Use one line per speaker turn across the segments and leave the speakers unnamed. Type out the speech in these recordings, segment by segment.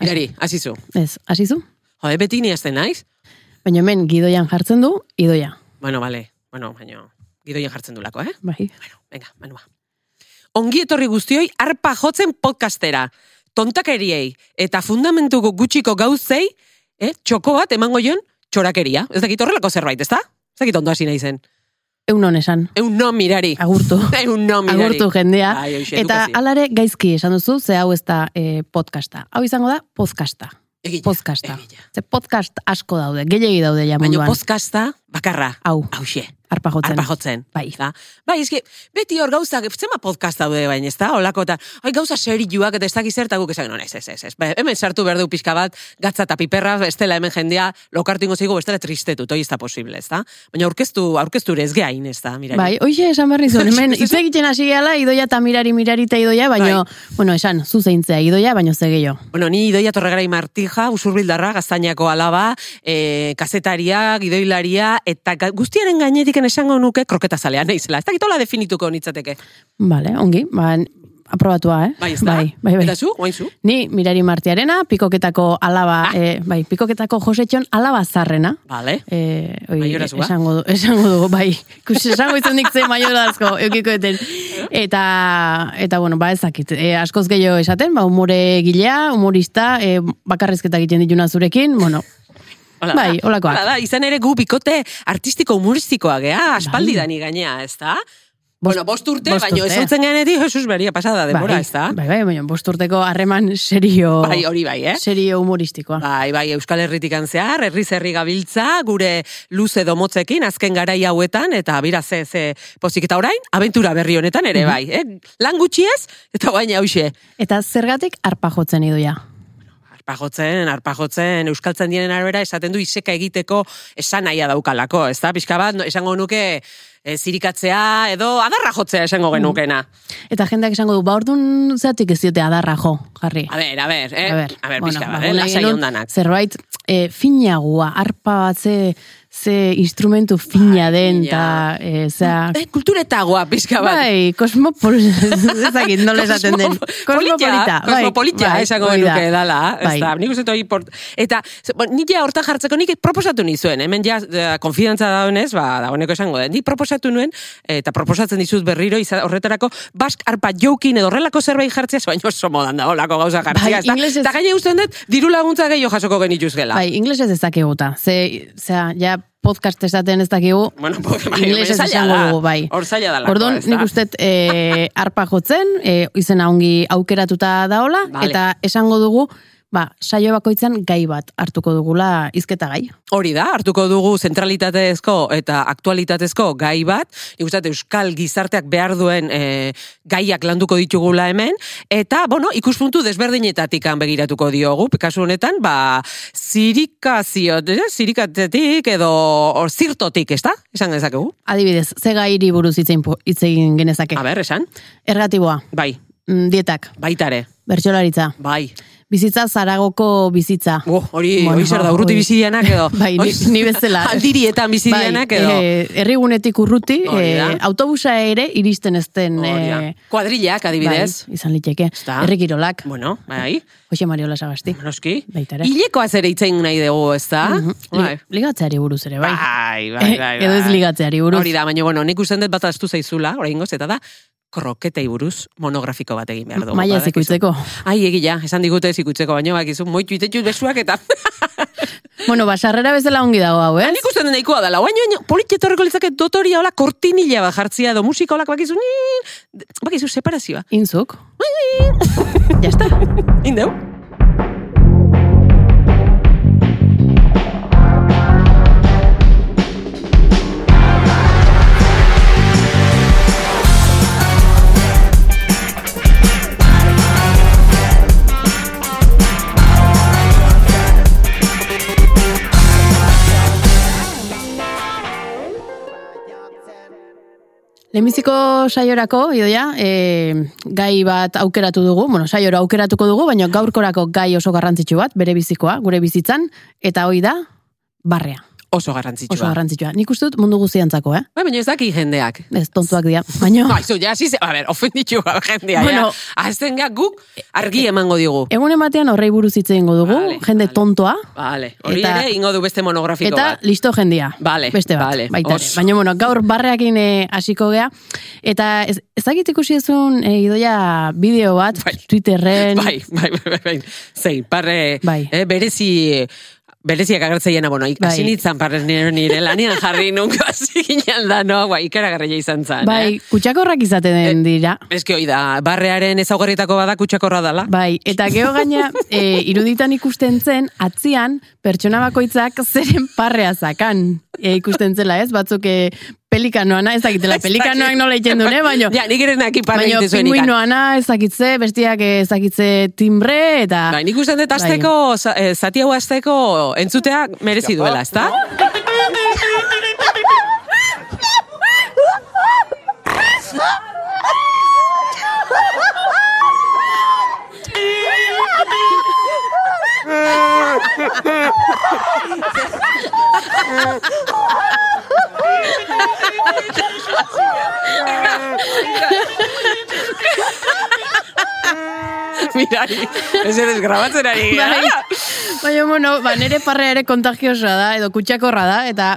Gari, hasizu.
Ez, hasizu?
Jo, eh, beti ni hasten naiz?
Baina hemen gidoian jartzen du, idoia.
Bueno, vale. Bueno, baino, gidoien jartzen dulako, eh?
Bai.
Bueno, venga, manua. Ongi etorri guztioi arpa jotzen podcastera. Tontakeriei eta fundamentuko gutxiko gauzei, eh, txoko bat emango jon txorakeria. Ez dakit horrelako zerbait, ez da? Ez dakit ondo hasi nahi zen.
Eun hon esan.
Eun no mirari.
Agurtu.
Eun no mirari.
Agurtu jendea.
Bai, hoxe,
Eta
edukazio.
alare gaizki esan duzu, ze hau ez da eh, podcasta. Hau izango da podcasta.
Egina,
Podcasta.
egina.
Ze podcast asko daude, gehiegi daude ja
Baina
munduan.
podcasta bakarra.
Hau,
Hauxe.
arpa jotzen.
Arpa jotzen.
Bai.
Da? Bai, eski, beti hor gauza, zema podcast daude baina, ez da, holako, eta, ai, gauza serioak eta ez dakiz zerta guk esan, no, ez, ez, ez, ez. Ba, hemen sartu behar du pixka bat, gatza eta piperra, estela hemen jendea, lokartu ingo zigu, bestela tristetu, toi ez da posible, ez da? Baina aurkeztu, aurkeztu ere ez gehain, ez da, mira.
Bai, hoxe esan behar nizun, hemen hitz egiten hasi gehala, idoia eta mirari mirari eta idoia, baino,
Bai.
bueno, esan, zuzeintzea idoia, baino ze gehiago.
Bueno, ni idoia torregarai martija, usurbildarra, gaztainako alaba, e, kasetaria, gidoilaria, eta ga- guztiaren gainetiken esango nuke kroketazalea naizela. Ez dakitola definituko nitzateke.
Vale, ongi, ba, aprobatua, eh?
Bai, ez da?
Bai, bai, bai.
Eta zu, oain zu?
Ni Mirari Martiarena, pikoketako
Ah.
alaba, eh, bai, pikoketako josetxon alaba zarrena.
Vale.
Eh, oi,
Maiorazua.
esango du, esango dugu, bai. Kus, esango izan nik ze maiorazko, eukiko eten. Eta, eta bueno, ba ezakit, eh, askoz gehiago esaten, ba, umore gilea, humorista, eh, bakarrezketa egiten dituna zurekin, bueno,
Hola,
Bai,
da.
holakoak.
Hola da, izan ere gu bikote artistiko humoristikoa gea, aspaldi dani gainea, ez da? bueno, bost urte,
Bai. bost
baino ez
urte.
utzen ganetik, Jesus beria pasada denbora, ez da?
Bai, bai, baina bosturteko harreman serio,
Bai, hori bai, eh?
serio humoristikoa.
Bai, bai, Euskal Herritik antzear, herri zerri gabiltza, gure luze domotzekin, azken garai hauetan, eta bira ze, ze pozik eta orain, abentura berri honetan ere,
Mhm.
bai. Eh? Lan gutxi ez, eta baina hauxe.
Eta zergatik arpa jotzen idoia.
Arpagotzen, arpagotzen, euskaltzen dienen arabera esaten du iseka egiteko esan nahia daukalako, ez da? Pixka bat, no, esango nuke e, zirikatzea edo adarra jotzea
Mm.
esango genukena.
Eta jendeak esango du, ba ordun zeatik ez diote adarra jo, jarri.
A ber, a ber, eh?
A ber,
a ber
bueno,
pixka
ba,
bat, eh?
gune
lasai
genuen
ondanak.
Zerbait e, finagua, arpa bat ze, ze instrumentu fina
Bai,
den,
fina.
eta e, zea...
Eh, kulturetagoa pizka bat.
Bai, kosmopol... Ezakit, nola esaten den.
Kosmopolita,
Kosmopolita. bai,
kosmopolita
bai,
esango
hori da.
genuke dala, ez
Bai.
da, nik uste dut hori port... Eta, ze- bo, nik ja hortan jartzeko nik proposatu nizuen, hemen ja, da, konfidantza daunez, ba, dagoeneko esango da. Nik proposatu nuen, eta proposatzen dizut berriro, iza, horretarako, bask arpa jokin edo horrelako zerbait jartzea, baina oso modan da, holako gauza jartzea,
Bai,
ez da.
ingelesez-
Eta gaine usten dut, diru laguntza gehiago jasoko genituzgela.
Bai, inglesez ez dakiguta. Ze, zea, ja podcast esaten ez dakigu,
Bueno, pues, bai,
inglesez
zaila
esango
da.
dugu, bai.
Hor zaila dalako,
Orduan,
ez da.
nik uste e, arpa jotzen, e, izena ongi aukeratuta daola,
Vale.
eta esango dugu, ba, saio bakoitzan gai bat hartuko dugula hizketa gai.
Hori da, hartuko dugu zentralitatezko eta aktualitatezko gai bat, nik uste dut euskal gizarteak behar duen e, gaiak landuko ditugula hemen, eta, bueno, ikuspuntu desberdinetatikan begiratuko diogu, kasu honetan, ba, zirikazio, eh, zirikatetik edo or, zirtotik, ez da? Esan dezakegu?
Adibidez, ze gairi buruz hitz egin po- hitz egin genezake.
A ber, esan?
Ergatiboa,
Bai,
mm, dietak,
baitare,
bertsolaritza,
bai.
bizitza zaragoko bizitza.
Oh, hori,
Bueno,
hori zer da, urruti
hori.
bizidianak edo.
Bai, ni,
hori-
ni bezala.
Aldirietan bizidianak edo.
eh, herrigunetik urruti,
Hori da.
eh, autobusa ere iristen ezten.
Hori da.
eh,
Kuadrillak, adibidez.
Bai, izan liteke.
Ezta.
Herrikirolak.
Bueno, bai.
Jose Mario Lasagasti.
Noski.
Baita ere.
Hilekoaz ere hitzein nahi dugu, Bai. ez da?
Mhm. Li, ligatzeari buruz ere, bai.
Ah, Bai, bai, bai,
Edo ez
bai.
ligatzeari buruz.
Hori da, baina, bueno, nik usten dut bat astu zaizula, orain goz, eta da, kroketei buruz monografiko bat egin behar dugu.
Maia ez
badakizu.
ikutzeko.
Ai, egila, esan digute ez ikutzeko, baina bakizu, moitu itetxut besuak eta
Bueno, basarrera bezala ongi dago hau, eh?
nik usten dut nahikoa dela. Baina, baina, politxetorreko litzake dotoria hola kortinila bat jartzia edo musika holak bakizu, ni, bakizu separazioa.
Inzuk. ya está.
Indeu?
Lehenbiziko saiorako, idoia, e, gai bat aukeratu dugu, bueno, saiora aukeratuko dugu, baina gaurkorako gai oso garrantzitsu bat, bere bizikoa, gure bizitzan, eta hoi da, barrea.
oso garrantzitsua.
Oso garrantzitsua. Nik uste dut mundu guztiantzako, eh?
Bai, baina ez daki jendeak.
Ez tontuak dira. Baina,
No, izu, ja, hasi ze- a ber, ofenditu gabe jendea,
Bueno.
ja. Azten ga, guk argi emango digu.
egun ematean horrei buruz hitz egingo dugu,
Vale,
jende
vale.
tontoa,
Vale, hori
E- Eta-
ere ingo du beste monografiko
eta
bat.
listo jendia.
Vale,
Beste bat.
vale,
baita ere.
oso.
Baina, bueno, gaur barreakin eh, hasiko gea. Eta ez, ezagit ikusi ezun eh, idoia bideo bat,
Bai.
Twitterren.
Bai, bai, bai, bai, bai. Zein, parre,
Bai.
eh, berezi, bereziak agertzeiena, bueno, ikasi
Bai.
nintzen parre nire, nire lanian jarri nunko hasi ginen da, no, bai, ikaragarria izan zen.
Bai,
Eh?
kutsakorrak izaten dira.
Eski hoi da, barrearen ezaugarrietako bada kutsakorra dala.
Bai, eta geho gaina e, iruditan ikusten zen, atzian pertsona bakoitzak zeren parrea zakan. E, ikusten zela ez, batzuk e, pelikanoana, ez dakitela, pelikanoak nola egiten eh? dune, baino,
Bai. Ja, nik ere naki parre
baino
egiten zuen ikan.
pinguinoana ez dakitze, bestiak ez dakitze timbre, eta...
Bai, nik uste dut
Bai.
azteko, za- eh, zati hau azteko entzutea merezi duela, ezta?
Bai.
Mira, ez ere grabatzen ari gara.
Bai, baina, bueno, ba, nire parrea ere kontagiosoa da, edo kutsakorra da, eta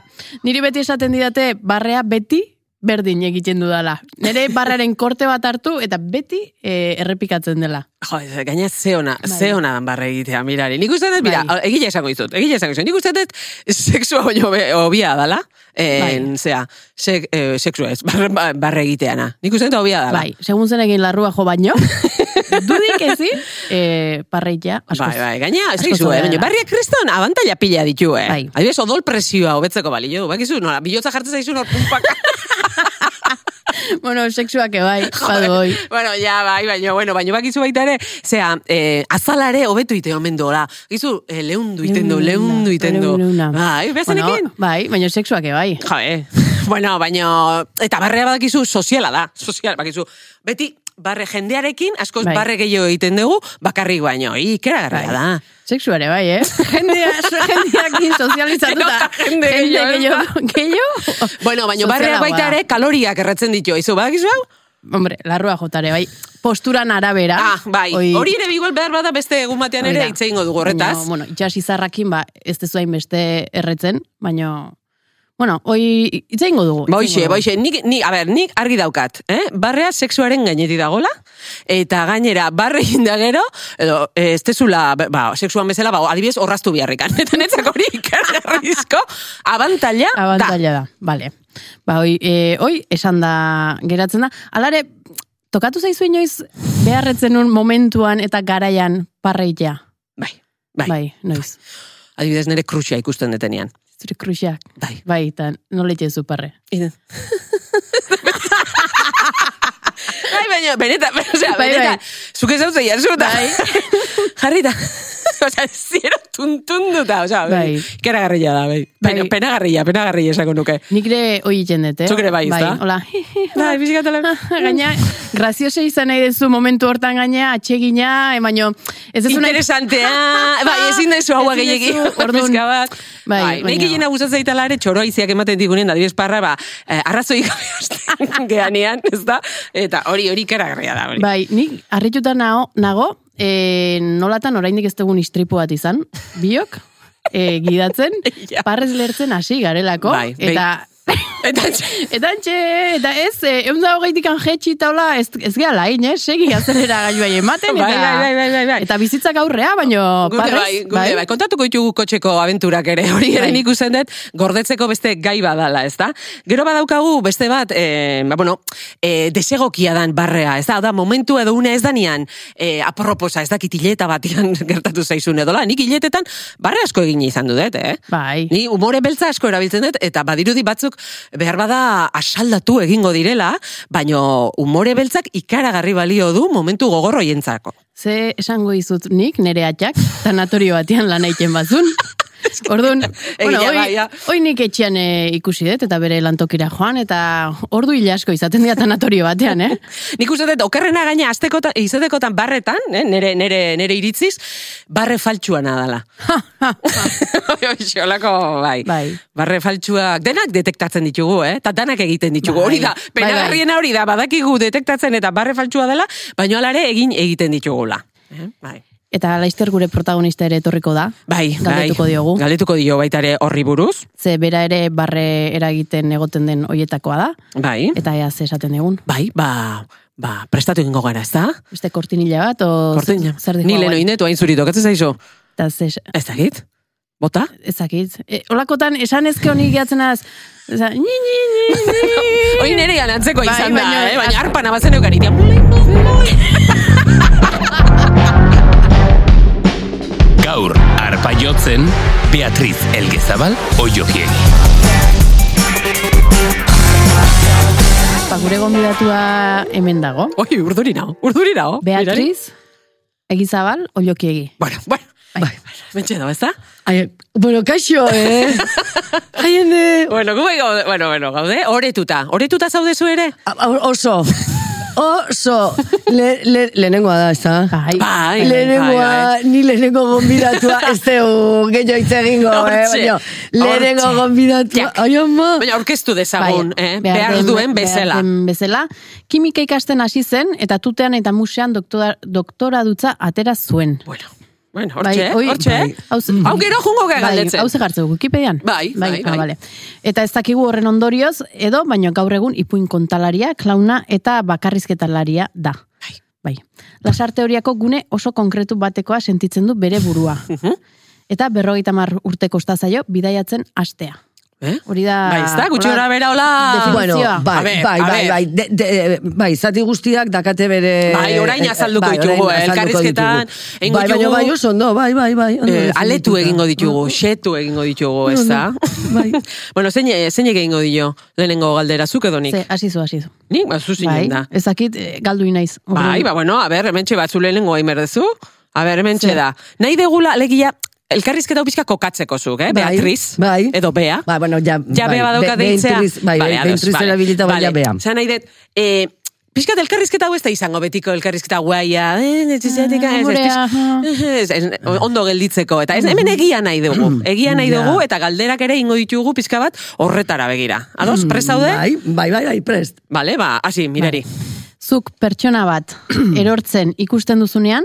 niri beti esaten didate barrea beti berdin egiten dudala. Nire barrearen korte bat hartu eta beti eh, errepikatzen dela.
Jo, ez, gaina ze ona,
Bai.
ze ona dan barre egitea, mirari. Nik uste dut, mira,
Bai.
egile esango izut, egile esango izut. Nik uste dut, seksua baino be- hobia dala,
Bai.
en, zea, sek, eh, seksua ez, barre, barre egiteana. Nik uste dut hobia dala.
Bai, segun zen egin larrua jo baino, dudik ezin, eh, parreia, askoz.
Bai, bai, gaina, ez
askoz
dizu, eh?
hobea
Baina,
da.
barriak kriston abantaila pila ditu, eh?
Bai.
Adibidez, odol presioa hobetzeko balio, du, bakizu, nola, bilotza jartzen zaizun hor pumpaka.
Bueno, bai, seksuak ebai, badu hoi.
bueno, ja, bai, baina, bueno, baina bakizu baita ere, zea, eh, azalare hobetu ite omen dola. Gizu, eh, leundu iten du, leundu iten du.
Leuna.
Bai, bezanekin?
Bueno, bai, baina seksuak ebai.
Jabe, bueno, baina, eta barrea badakizu soziala da, sozial, bakizu, beti, barre jendearekin, askoz
Bai.
barre gehiago egiten dugu, bakarrik baino, ikeragarria da.
Seksuare bai, eh? Jendea, jendeakin sozializatuta.
Gero eta jende gehiago, eh?
gehiago, gehiago.
Bueno, baina barrea
sozialagoa
baita
da.
ere kaloriak erretzen ditu, izu, badakizu hau?
Hombre, larrua jotare, bai. Posturan arabera.
Ah, bai,
Oi-
hori ere igual behar bada beste egun batean
Hori
ere
da.
hitz egingo dugu horretaz.
Baina, bueno, itxas izarrakin, ba, ez dezu beste erretzen, baina... Bueno, hoi hitz egingo dugu. hitz
Boixe,
egingo dugu.
boixe, nik, nik, a ber, nik argi daukat, eh? Barrea sexuaren gainetik dagola, eta gainera, barre inda gero, edo, eh, ez tezula, be- ba, sexuan bezala, ba, adibidez, horraztu biharrikan. Eta netzak hori ikargarrizko, abantaila, da.
Abantaila da, bale. Ba, hoi, e, hoi, esan da geratzen da. Alare, tokatu zaizu inoiz beharretzen un momentuan eta garaian parreitea.
Bai, bai,
Bai, noiz.
Adibidez, nire kruxia ikusten detenean.
Zure kruxak.
Bai.
Bai, eta nola itxezu parre.
Iden. bai, baina, benetan, o sea,
Bai, bai.
benetan, zuke zautze jarzu, eta
Bai.
jarri da, o sea, zero tuntunduta, o sea,
Bai.
bai. ikaragarria da, bai. Pena,
Bai.
penagarria, penagarria esako nuke.
Nik ere hoi egiten dut, eh?
Zuk ere bai, ezta?
hola.
Bai, bizikatela.
gaina, graziosa izan nahi dezu momentu hortan gaina, atxegina, eh, baino, ez dezu nahi...
Interesantea, bai, ezin dezu haua
Ezin
gehiagi,
duzu, orduan.
pizka bat.
Bai,
Bai, bai nahi
baina-
gehiena gustatzen zaitala ere, txoroa iziak ematen digunen, adibidez parra, ba, eh, arrazoi gabe ostean geanean, ez da? Eta hori, hori ikaragarria da, hori.
Bai, nik harrituta nago, nago e, nolatan oraindik ez dugun istripu bat izan, biok, e, gidatzen,
Ja.
parrez lertzen hasi garelako,
Bai, behin.
eta...
Eta,
Eta antxe, eta ez, e, egun da hogeitik anjetxi eta hola, ez, ez gehala, hain, eh? Segi gaztelera gailuai ematen, eta,
Bai, bai, bai, bai, bai.
eta bizitzak aurrea, baino,
Gure
parrez,
bai, gure bai. Kontatuko ditugu kotxeko abenturak ere, hori ere
Bai.
nik usten dut, gordetzeko beste gai badala, ez da? Gero badaukagu beste bat, eh, ba, bueno, eh, desegokia dan barrea, ez da? Hau Da, momentu edo une ez danian, eh, aproposa, ez dakit hileta batian gertatu zaizun edo la, nik hiletetan barre asko egin izan dut, eh?
Bai.
Ni umore beltza asko erabiltzen dut, eta badirudi batzuk behar bada asaldatu egingo direla, baino umore beltzak ikaragarri balio du momentu gogorroientzako.
Ze esango izut nik, nere atxak, tanatorio batean lan egiten bazun. Orduan, bueno,
Egia
hoi,
da, ja.
hoi nik etxean e, ikusi dut, eta bere lantokira joan, eta ordu hile asko izaten dira tanatorio batean, eh?
Nik uste dut, okerrena gaina aztekotan, izatekotan barretan, eh, nere, nere, nere iritziz, barre faltsuana dala. Xolako, bai.
Bai.
Barre faltsuak denak detektatzen ditugu, eh? Eta danak egiten ditugu.
Bai.
Hori da,
Bai, bai.
penagarriena hori da, badakigu detektatzen eta barre faltsua dela, baino alare egin egiten ditugula. Eh? Bai.
Eta laister gure protagonista ere etorriko da.
Bai,
Galdetuko
bai.
diogu.
Galdetuko dio baita ere horri buruz.
Ze bera ere barre eragiten egoten den hoietakoa da.
Bai.
Eta ea ze esaten egun.
Bai, ba, ba, prestatu egingo gara, ez da?
Beste kortinila bat, o
Kortina.
zer
Ni
dihoa
leno indetu hain zuri tokatzen zaizu.
Eta ze,
Ez dakit? Bota?
ezakit. E, olakotan, esan ezke honi gehatzen az, eza, ni, ni, ni, ni.
Hoi nere antzeko
Bai,
izan da,
baina-
eh? baina arpa Bai, nabazen eukan itian. Bulin, bulin, bulin.
Gaur, arpa jotzen, Beatriz Elgezabal, oiokiegi.
Ba, gure gonbidatua hemen dago.
Oi, urduri nao, urduri nao. Mirari.
Beatriz, egizabal, oliokiegi.
Bueno, bueno. Bai, Bentxe da, ezta?
Ai, bueno, kaixo, eh? Haien, eh,
Bueno, gu bai gaude, bueno, bueno, gaude, oretuta. Oretuta zaudezu ere?
A- a- Oso. Oso. Le, le, lehenengoa da, ez da?
Bai.
Bai,
Lehenengoa, ni lehenengo gonbidatua, ez teu gehiago hitz egingo, eh?
Hortxe,
Baina, lehenengo
hortxe.
gonbidatua,
Jak.
ai ama.
Baina aurkeztu dezagun, eh?
behar
behar,
den-
duen bezala.
Behar duen bezala. Kimika ikasten hasi zen, eta tutean eta musean doktora, doktora dutza atera zuen.
Bueno, bueno, hortxe,
Bai, oi,
hortxe. Mm.
Hau,
Hau gero jungo gara
bai,
galdetzen.
Hau ze jartzen, dugu, Wikipedian?
Bai, bai,
ah,
bai.
bale. Eta ez dakigu horren ondorioz, edo, baina gaur egun ipuin kontalaria, klauna eta bakarrizketalaria da.
Bai.
Bai. Lasarte horiako gune oso konkretu batekoa sentitzen du bere burua.
Mhm.
Eta berrogeita mar urteko zaio bidaiatzen astea.
Eh?
Hori da...
Bai, ez da, gutxi
hola-
gora bera hola...
Bueno,
Definizioa.
bai,
A ber,
bai,
a
bai,
ber.
bai, de, de, bai, zati guztiak dakate bere...
Bai, orain
eh, eh,
azalduko
bai, orain
ditugu, eh,
azalduko
elkarrizketan
ditugu.
egingo
Bai, baina
ditugu-
bai, oso ondo, bai, bai, bai. ondo
Eh,
definituta.
aletu egingo ditugu, xetu egingo ditugu, ez da?
Bai.
bueno, zein, zein egingo dio lehenengo galdera, zuk edo nik?
Ze, hasizu, hasizu.
Nik, ba, zu zinen
Bai,
da.
ez dakit, eh, galdu inaiz.
Bai, ba, bueno, a ber, hementxe batzu lehenengo hain berdezu. A ber, hementxe da. Nahi degula, alegia, elkarrizketa hau pizka kokatzeko zuk, eh?
Bai,
Beatriz,
bai.
edo Bea.
Ba, bueno, ja,
ja
bai,
Bea badauka
be-
deitzea.
Beatriz- bai, Beatriz erabilita, baina Bea.
Zan nahi dut, eh, pixkat elkarrizketa hau ez da izango betiko elkarrizketa guaia, eh,
Ah,
ez izatik, ez, ez,
Gurea, aha.
ez, ez, ez, ondo gelditzeko, eta ez, hemen egia nahi dugu, egia nahi
Mm. Ja.
dugu, eta galderak ere ingo ditugu pixka bat horretara begira. Ados, prestaude?
Bai, bai, bai, bai, prest.
Bale, ba, hasi, mirari.
Zuk pertsona bat erortzen ikusten duzunean,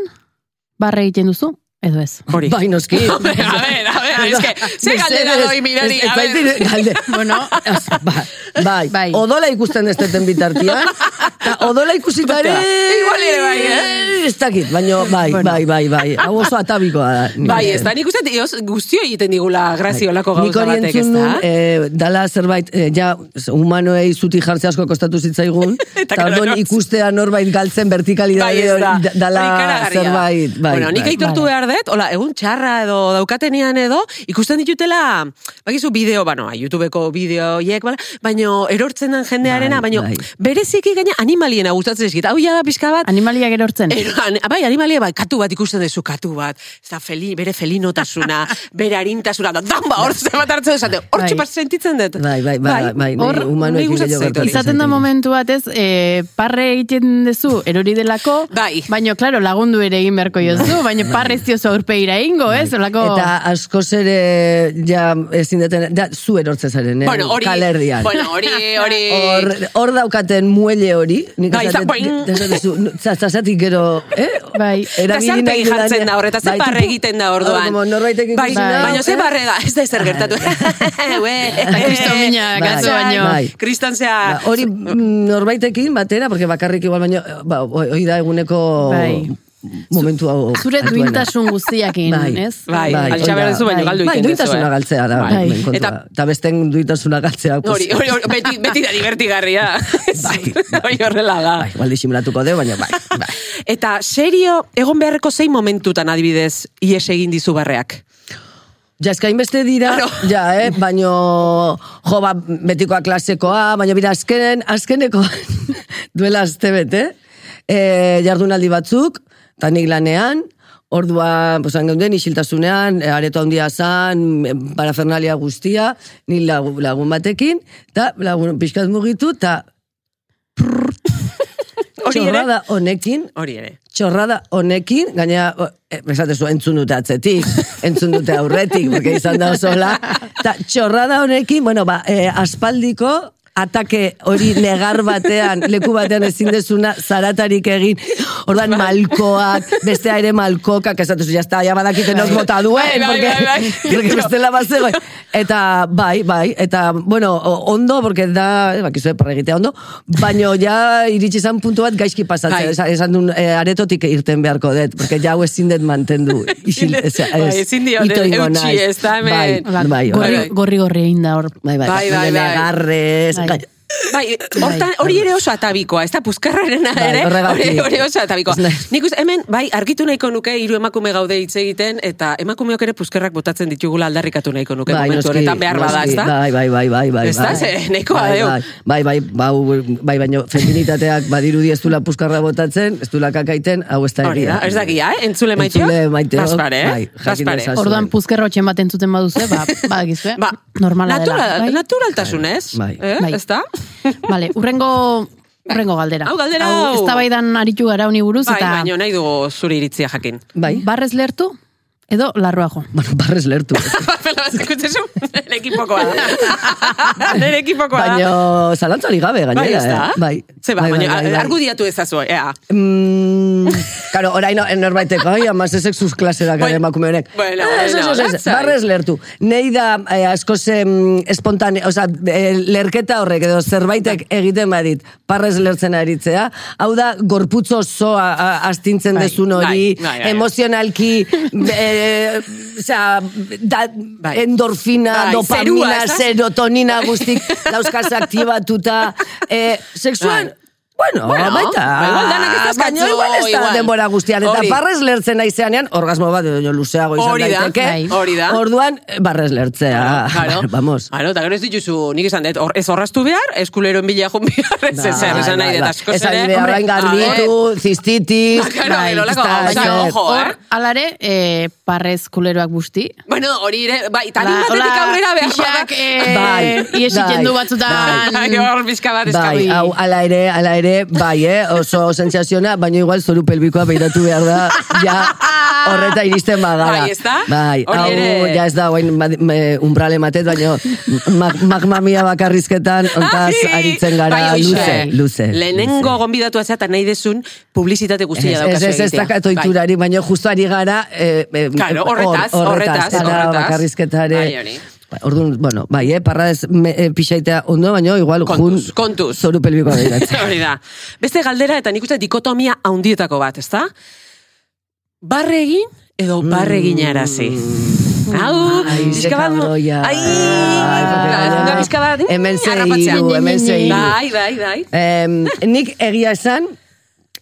barre egiten duzu, edo ez.
Hori.
Bai, noski.
A ver, a ver, a ver, es que, ze
Mesedez,
galdera doi mirari,
ez- ez
a
zait
ver.
dire- Galde, bueno, ez, ba- bai,
Bai.
odola ikusten ez deten bitartian, eta odola ikusita ere...
Igual ere bai,
eh? Ez dakit, baino, bai, bai, bai, bai, hau oso atabikoa da. nik
Bai,
uste.
ez da, nik uste, dios, guztio egiten digula graziolako
Bai. Nik
gauza
hori
batek, ez
entzun
da?
nun, eh, dala zerbait, eh, ja, humanoei zuti jartze asko kostatu zitzaigun,
Eta
eta orduan
claro,
ikustea norbait galtzen
Bai,
vertikalidade
ez da.
hori, dala
Hori ikaragarria.
zerbait, bai,
bueno, nik
bai.
aitortu behar dut, hola, egun txarra edo daukatenean edo, ikusten ditutela, bakizu bideo, bueno, ba, YouTubeko bideo hiek, bala, baino erortzen den jendearena,
Bai,
baino
bai.
bereziki gaina animaliena gustatzen dizkit. Hau ja da pixka bat,
Animaliak erortzen.
Ero, an- bai, animalia, bai, katu bat ikusten duzu, katu bat, ez da, feli, bere felinotasuna, bere arintasuna, da, dan ba, hor ze bat hartzen duzate, hor
Bai.
txipa sentitzen dut.
Bai, bai, bai, bai,
hor,
bai, humanoekin
nahi gustatzen
gehiago
zait hori.
gertatzen
Izaten da
Zaitek.
momentu batez, eh, parre egiten duzu erori delako,
Bai.
baina, klaro, lagundu ere egin beharko jozu, baina parre ez diozu aurpegira ingo,
Bai.
ez? Olako...
Eta
Oh.
askoz ere ja ezin deten, da, zu erortzen zaren, eh?
Bueno, hori,
kalerdian.
bueno, hori, hori,
Hor, hor daukaten muelle hori, nik
Bai, za-
esaten-
boing!
de- esaten zu, nu- za- zazatik gero, eh?
Bai.
Eta
Erabili
zer
nahi
pegi
dudanean-
jartzen da horreta, zer
Bai,
parre
tupu.
egiten da
Hor,
orduan.
como norbaitek
Bai,
ikusi
nau,
baina ze
eh?
barre da, ez da ezer gertatu. Ue,
Eta kristo mina,
Bai,
gazo baino.
bai.
Kriston zea,
Ba, hori mm, norbaitekin batera, porque bakarrik igual baino, eh, ba, hoi hoi da eguneko
Bai.
momentu hau.
Zure
altuena.
duintasun guztiakin,
Bai.
ez?
Bai,
hori
altxa behar
da.
duzu, baina galdu
Bai,
egiten duzu,
duintasuna
eh?
galtzea da,
Bai.
hemen kontua.
Eta-
Eta besten duintasuna galtzea. pues,
hori, hori, hori, beti, beti da divertigarria.
Bai.
Hori horrela da.
Bai, igual disimulatuko deu, baina bai. bai.
Eta serio, egon beharreko zein momentutan adibidez ies egin dizu barreak?
Ja, eskain beste dira,
Claro.
ja, eh? baino, jo, ba, betikoa klasekoa, baina bira, azkenen, azkeneko duela azte bete, eh, jardunaldi batzuk, eta nik lanean, Ordua, pues, geunden, isiltasunean, eh, areto handia zan, eh, parafernalia guztia, ni lagun, lagun batekin, eta lagun pixkat mugitu, eta
Hori ere,
txorrada honekin,
hori ere.
txorrada honekin, gaina, eh, esatezu, entzun dute atzetik, entzun dute aurretik, porque izan da osola, eta txorrada honekin, bueno, ba, eh, aspaldiko, atake hori negar batean, leku batean ezin dezuna, zaratarik egin, ordan
Bai.
malkoak, bestea ere malkokak, esatuzu, jazta, ja badakite nos mota
Bai,
duen,
bai,
porque,
bai, bai.
porque bestela bazegoen. Ba, Eta, bai, bai, eta, bueno, o- ondo, porque da, eh, bakizue perregitea ondo, baino ja iritsi zan puntu bat gaizki pasatzea,
Bai.
Esa- esan duen eh, aretotik irten beharko dut, porque ja hau ezin dut mantendu. Isil,
dut,
ez,
bai, ezin diot,
ito ingo
eutsi,
naiz.
ez da hemen.
Bai,
Hola,
bai, bai,
gorri,
bai.
gorri gorri egin da hor.
bai, bai,
Bai, bai, bai.
negarrez,
Bai.
gai-
Bai, hortan, hori ere oso atabikoa, ez da puzkarrarena
Bai,
ere, hori,
horregatik.
hori oso atabikoa. Nik uste, hemen, bai, argitu nahiko nuke hiru emakume gaude hitz egiten, eta emakumeok ere puzkerrak botatzen ditugula aldarrikatu nahiko nuke
Bai,
momentu
noski,
honetan behar bada,
noski,
ez da?
Bai, bai, bai, bai, bai.
Ezta?
bai.
Ze, nahikoa
Bai,
deu.
bai, Bai, bai, bau, bai, baino feminitateak badirudi ez dula puskarra botatzen, ez dula kakaiten, hau ez da
Hori
egia.
da, ez da gia, eh? Entzule maiteok?
Entzule maiteok,
Paspare, eh?
bai, jakin
Paspare.
dezazu.
Orduan
zuen.
puzkerro txen bat entzuten baduzu, ba, badakizue,
Ba,
normala
natural-
dela.
Naturaltasunez,
Bai.
eh?
Bai.
ez da?
Vale, urrengo, urrengo galdera.
Hau galdera hau.
ez aritu gara honi buruz,
Bai,
eta
baino nahi dugu zure iritzia jakin.
Bai,
barrez lertu, edo larroa jo.
bueno, barrez lertu.
Pela, ez ikutzezu, nire ekipokoa da. Nire ekipokoa da.
Baina, zalantzari gabe,
Bai,
gainera.
ez da?
eh? Bai.
Ze ba,
Bai, bai,
baina
bai, bai.
argudiatu ezazu, ea.
Mm, claro, orain no- norbaitek, ai, amaz ez exuz klasera gara
Bueno,
emakume honek.
Bai. bueno,
Ah, ez, ez,
bueno,
ez, ez,
latzai.
barrez lertu. Nei da, eh, askoz em, espontane, oza, eh, lerketa horrek edo zerbaitek
Bai.
egiten badit, parrez lertzen aritzea. Hau da, gorputzo zoa a- astintzen
Bai,
dezun hori,
bai, bai, bai.
emozionalki, eh, oza, da,
Bai.
endorfina,
Bai, zerua,
dopamina,
ez da?
serotonina guztik, dauzkaz aktibatuta, eh, sexuan,
Bai.
Bueno,
Bueno,
baita.
ba, igual denak ez dauzkatzu,
Baina igual ez da
igual.
denbora guztian. Eta
Hori.
barrez lertzen naizeanean, orgasmo bat edo luzeago izan
Hori da,
daiteke.
bai,
hori da.
Orduan, barrez lertzea.
Claro.
Ah, Vamos.
Claro, eta gero ez dituzu, nik izan dut, hor, ez horraztu behar, eskuleroen bila joan behar, ez
Bai,
ezer, esan nahi
bai,
dut,
bai.
askoz
Esan
ere.
nahi dut,
hombre,
arrain
a ver,
garbitu, zistitis.
Ba, claro,
bai,
gelolako
ez da,
gauzak,
ez.
ojo. eh?
Hor, alare, e, parrez kuleroak busti.
Bueno, hori ere, bai, eta
Hola,
batetik
hola,
aurrera behar. bada.
pixak, eh,
Bai,
iesiten du
bai,
batzutan.
Bai, hor bizka bat
Bai,
eskabi.
hau, ala ere, ala ere, bai, eh, oso sensaziona, baina igual zoru pelbikoa beiratu behar da, ja, horreta iristen bagara.
Bai, ez da?
Bai,
Hori
hau,
ere.
ja ez da, guain, umbrale matet, baina mag, magmamia bakarrizketan, ontaz,
Ai,
aritzen gara,
Ah, bai, horixe.
luze, luze.
Lehenengo gonbidatu atzea eta nahi dezun publizitate
Ez,
guztia
ez,
daukazu
ez, ez
egitea. Bai.
dakat oiturari, baina justu ari gara... Eh, eh,
Claro,
hor-
horretaz, horretaz,
Ara
horretaz.
bakarrizketare...
Bai, hori.
Ba, Orduan, bueno, bai, eh, parra ez me, eh, pixaitea ondo, baina igual
Kontuz,
jun
kontuz.
zoru pelbikoa beiratzen.
Bai. Hori da. Beste galdera eta nik uste dikotomia haundietako bat, ezta? Barre egin edo barre egin arazi. Hau,
Mm. Ai, ze
pixka bat...
kabroia.
Ai,
Ai, porque
da,
gainera
pixka bat... mm,
Hemen ze
harrapatzea.
hiru, hemen ze hiru.
Bai, bai, bai.
Em, nik egia esan,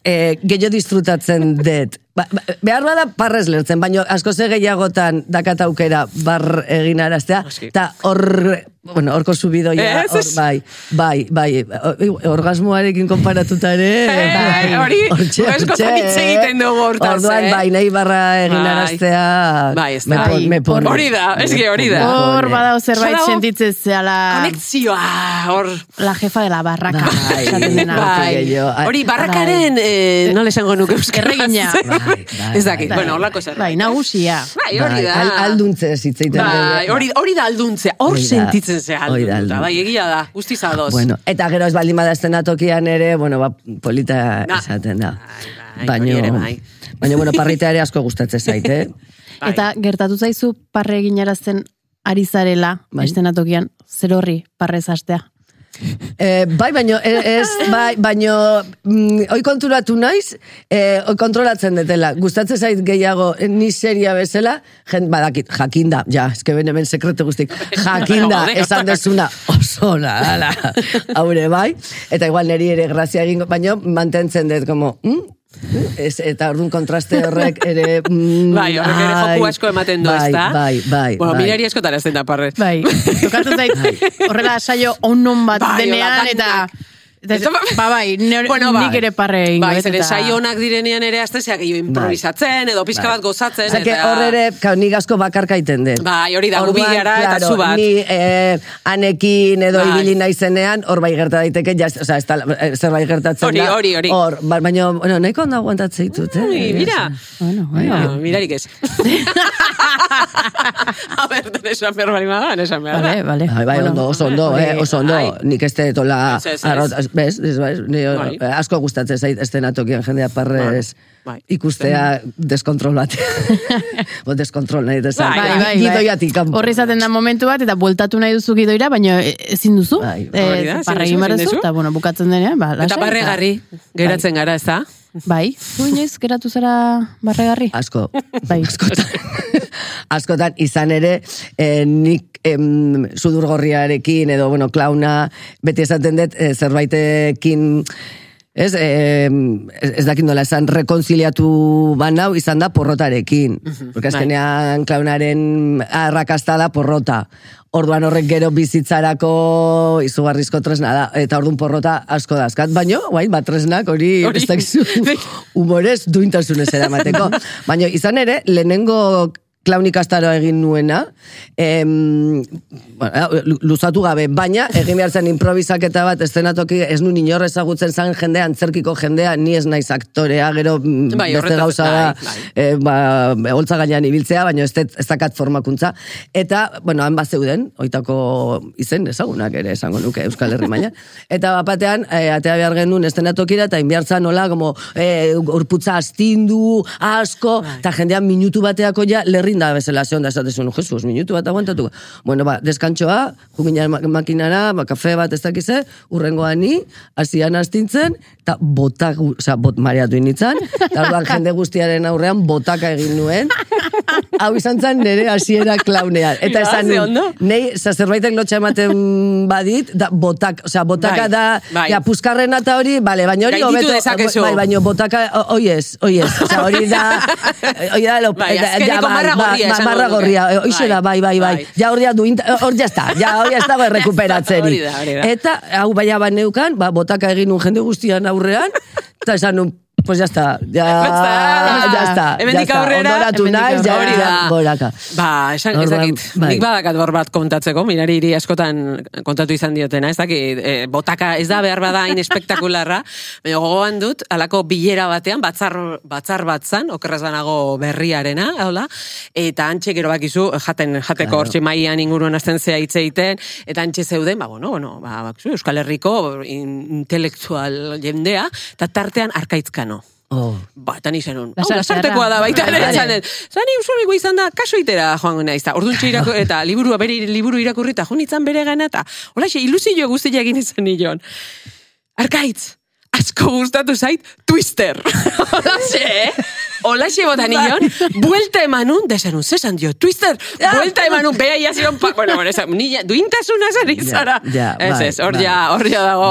eh, gehiago disfrutatzen dut. Ba, ba- behar bada parrez lertzen, baina asko ze gehiagotan dakat aukera bar egin araztea,
Noski.
eta hor, bueno, horko subidoia,
Ez,
hor,
ez.
bai, bai, bai, o- orgasmoarekin konparatuta ere,
Eh,
bai,
hori, askotan hitz egiten dugu hortaz,
orduan,
eh?
bai, nahi barra egin
Bai.
araztea,
Bai, ez da.
me pon-
Bai,
me pon-
hori da,
me
eski hori da.
pone.
Hor badao zerbait
Zara, hor-
sentitzen
Ah.
zeala
Konekzioa, hor...
la jefa de la barraka.
Bai,
esaten dena.
bai. gehiago. Ai,
Hori barrakaren, eh, nola esango nuke euskaraz.
Erregina.
Bai, bai,
Ez dakit,
bai.
bueno, horlako zer.
Bai, nagusia.
Bai, hori da.
Al, alduntze zitzeiten.
Bai, hori, hori da alduntzea, hor
Hori da.
sentitzen zea
Hori da
alduntuta,
alduntzea.
bai, egia da, guztiz ados.
Bueno, eta gero ez baldin bada estenatokian ere, bueno, ba, polita
Na.
esaten da.
Bai, bai, hori ere bai.
baina, bueno, parrita ere asko gustatzen zait, eh?
Bai.
Eta gertatu zaizu parre eginarazten ari zarela,
Bai.
estenatokian, zer horri parrez astea.
Eh, bai, baino, e- ez, bai, baino, mm, oi konturatu naiz, eh, oi kontrolatzen detela. Gustatzen zait gehiago, eh, ni seria bezala, jen, badakit, jakinda, ja, eske ben hemen sekretu guztik, jakinda,
Bueno,
esan dezuna, oso nadala, haure, bai, eta igual neri ere grazia egingo, baino, mantentzen dut, como, mm? Ez, eta orduan kontraste horrek ere... Mm,
Bai, horrek ere
ai,
joku asko ematen du,
bai,
ezta?
Bai, bai,
Bueno,
bai.
mirari askotan ez den da parre.
Bai, tokatu zait, Bai, horrela saio onon bat
Bai, hola, danak.
denean, eta Eta- ba, bai, nere- nik ere parre egingo
Bai,
dut,
zeren
eta-
saio onak direnean ere azte zeak gehiago improvisatzen, edo pixka
Bai.
bat gozatzen.
Osea, que hor ere, ka, nik asko bakarka iten dut.
Bai, hori da, gu
Orduan,
bilara eta
claro,
zu bat.
Ni eh, anekin edo
Bai.
ibili naizenean, hor bai gerta daiteke, ja, o sea, ez da, eh, zerbait gertatzen
Hori,
da.
hori, hori.
Hor, ba- baina, bueno, nahiko ondo aguantatzen ditut, eh?
Ui, mira.
Bueno,
bai.
Bueno,
bueno.
mirarik ez. A ber, den esan behar bali madan, esan behar da.
Vale, vale.
Bai, bai,
Bueno,
ondo, oso ondo,
hori,
eh, oso ondo,
ai.
nik ez detola
Ez, ez, ez.
arrotaz, bez, ez, bai, ni,
Bai.
eh, asko gustatzen zait estenatokian jendea parrez
Bai. Bai.
ikustea deskontrol bat. Bo, deskontrol nahi desan.
Bai,
Bai, bai, bai.
Gidoiatik kanpo.
Horri izaten da momentu bat, eta bueltatu nahi duzu gidoira, baina e- ezin duzu.
Bai,
Eh,
hori da, ezin
parra
duzu,
egin
ezin
behar duzu,
duzu.
eta bueno, bukatzen denean, ba, lasai,
Eta barregarri, geratzen gara, ez da?
Bai, zu inoiz geratu zara barregarri.
Asko,
Bai.
askotan. askotan, izan ere, eh, nik em, sudurgorriarekin edo, bueno, klauna, beti esaten dut, eh, zerbaitekin, ez, em, ez, ez dakit nola esan, rekonziliatu banau, izan da porrotarekin.
Mhm, bai.
Porque azkenean klaunaren arrakasta da porrota. Orduan horrek gero bizitzarako izugarrizko tresna da, eta orduan porrota asko dazkat. Baino, guain, bat tresnak hori,
Hori.
hori. ez dakizu humorez duintasunez eramateko. Baina izan ere, lehenengo klaun ikastaroa egin nuena, em, bueno, lu- luzatu gabe, baina egin behar zen improvisaketa bat estenatoki ez nu inor ezagutzen zan jendea, antzerkiko jendea, ni ez naiz aktorea, gero mm,
Bai,
beste
horretaz-
gauza da,
bai, bai.
e, ba, holtza gainean ibiltzea, baina ez, dut- ez dakat formakuntza. Eta, bueno, han bat zeuden, oitako izen ezagunak ere esango nuke Euskal Herri mailan. Eta bat batean, e, atea behar genuen estenatokira, eta inbiartza nola, como, e, urputza astindu, asko, eta jendean minutu bateako ja, lerrinda bezala zeon da esatezun, Jesus, minutu bat aguantatuko. Bueno, ba, deskantxoa, jugina ma- makinara, ba, kafe bat ez dakize, urrengoa ni, hasian astintzen, eta botak, oza, bot mareatu initzan, eta orduan jende guztiaren aurrean botaka egin nuen, hau izan zen nire hasiera klaunean. Eta
Ja,
esan
Bai, ze
nuen,
ondo.
nei, za zerbaitek lotxa ematen badit, da, botak, oza, botaka
Bai,
da,
bai.
ja, puzkarrena eta hori, bale, baina hori
Gainditu
hobeto,
dezakezu.
bai, baina botaka, o- hoi ez, hoi ez, oza, hori da, hori da, lo,
Bai,
da-
azkeneko
ba-
marra gorria
ba- ba-
esango
marra
nuke.
gorria, eh, hoixe
Bai.
da, bai, bai, bai,
Bai.
ja hor ja duin, hor ja está, ja hor ja ez dago
Hori
errekuperatzerik.
da, hori da.
Eta, hau baina baneukan, ba, botaka egin nun jende guztian aurrean, eta esan nun, pues ya está, ya,
Ya está.
ya está, ya
Hemendik
está,
aurrera,
ondoratu
hemendik
naiz, ja,
Hori da.
goraka.
Ba, esan ez
Orduan,
dakit.
bai.
Nik badakat bor bat kontatzeko, mirari hiri askotan kontatu izan diotena, ez dakit, eh, botaka ez da behar bada hain espektakularra, baina gogoan dut, alako bilera batean, batzar, batzar bat zan, okerraz banago berriarena, hola, eta antxe gero bakizu, jaten, jateko hortxe maian inguruan azten zea hitz egiten, eta antxe zeuden, ba, bueno, bueno, ba, bakizu, Euskal Herriko in- intelektual jendea, eta tartean arkaitzkano.
Oh.
Ba, eta ni zenun, hau,
Lasarteara.
lasartekoa da baita ere,
Vale.
zanen. Zani usuriko izan da, kaso itera joan naiz, eta orduan irako, eta liburua bere liburu irakurri, eta joan itzan bere gana, eta holaxe, ilusio guztia egin izan nion. Arkaitz, asko gustatu zait, twister. Holaxe, eh? Holaxe botan nion, buelta emanun, desanun, zesan dio, twister, buelta emanun, bea ia zion, pak, bueno, bueno, esan, ni ja, duintasuna zen izara.
ja,
Ez,
bai,
ez, hor
bai.
ja, hor ja dago.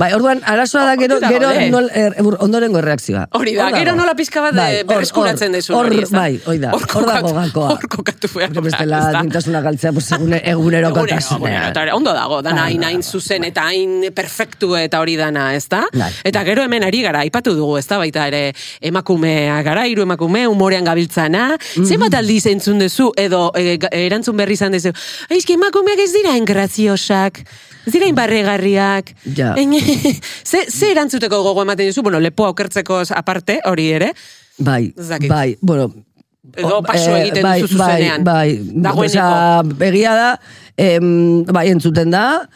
Bai, orduan, arazoa da gero,
Hor Oh. dago,
gero
eh?
nol, er, ur- ondorengo erreakzioa.
Hori da,
Hor dago.
gero nola pizka bat
Bai,
bai,
hor-
berreskuratzen
hor-
dezu.
Hor,
hori, ez da?
bai, hori da,
Hor
hor dago
kokatu-
gakoa.
Hor kokatu behar.
Porque
da,
bestela
ez da?
dintasuna galtzea, pues, egune, eguneroko
Egunero, egunero, eta hori, Ondo dago, dana
Bai,
hain hain zuzen eta hain perfektu eta hori dana, ez da?
Bai.
Eta gero hemen ari gara, aipatu dugu, ez da, baita ere emakumea gara, hiru emakume, umorean gabiltzana,
Mhm.
zenbat aldiz entzun duzu, edo e, ga- erantzun berri izan duzu, aizki emakumeak ez dira engraziosak, ez dira inbarregarriak,
Ja.
ze, ze erantzuteko gogo ematen duzu, bueno, lepoa okertzeko aparte, hori ere,
Bai,
Ez dakit.
bai, bueno...
Edo
o-
paso
eh,
egiten
bai,
duzu zuzenean.
Bai, bai,
Dagoeneko.
osea, begia da, em, bai, entzuten da,